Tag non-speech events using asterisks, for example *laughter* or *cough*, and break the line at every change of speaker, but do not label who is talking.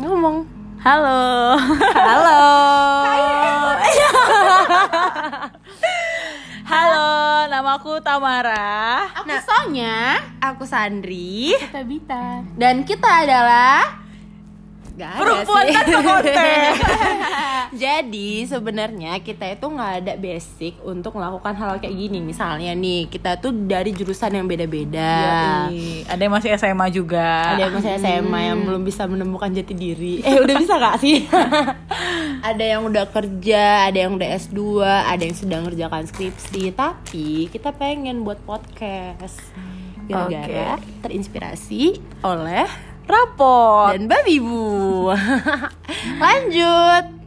ngomong
Halo.
halo
*laughs* Halo, nama aku Tamara.
Aku Sonya,
Nah, aku Sandri
Tabita.
dan kita adalah Gak ada
Perempuan
sih.
tanpa konten.
*laughs* Jadi sebenarnya kita itu nggak ada basic untuk melakukan hal kayak gini. Misalnya nih kita tuh dari jurusan yang beda-beda.
Yoi, Iya. Ada yang masih SMA juga.
ada yang masih SMA yang belum bisa menemukan jati diri eh udah bisa gak sih *laughs* ada yang udah kerja ada yang udah S2 ada yang sedang ngerjakan skripsi tapi kita pengen buat podcast gara-gara terinspirasi oleh
rapot.
dan babi bu *laughs* lanjut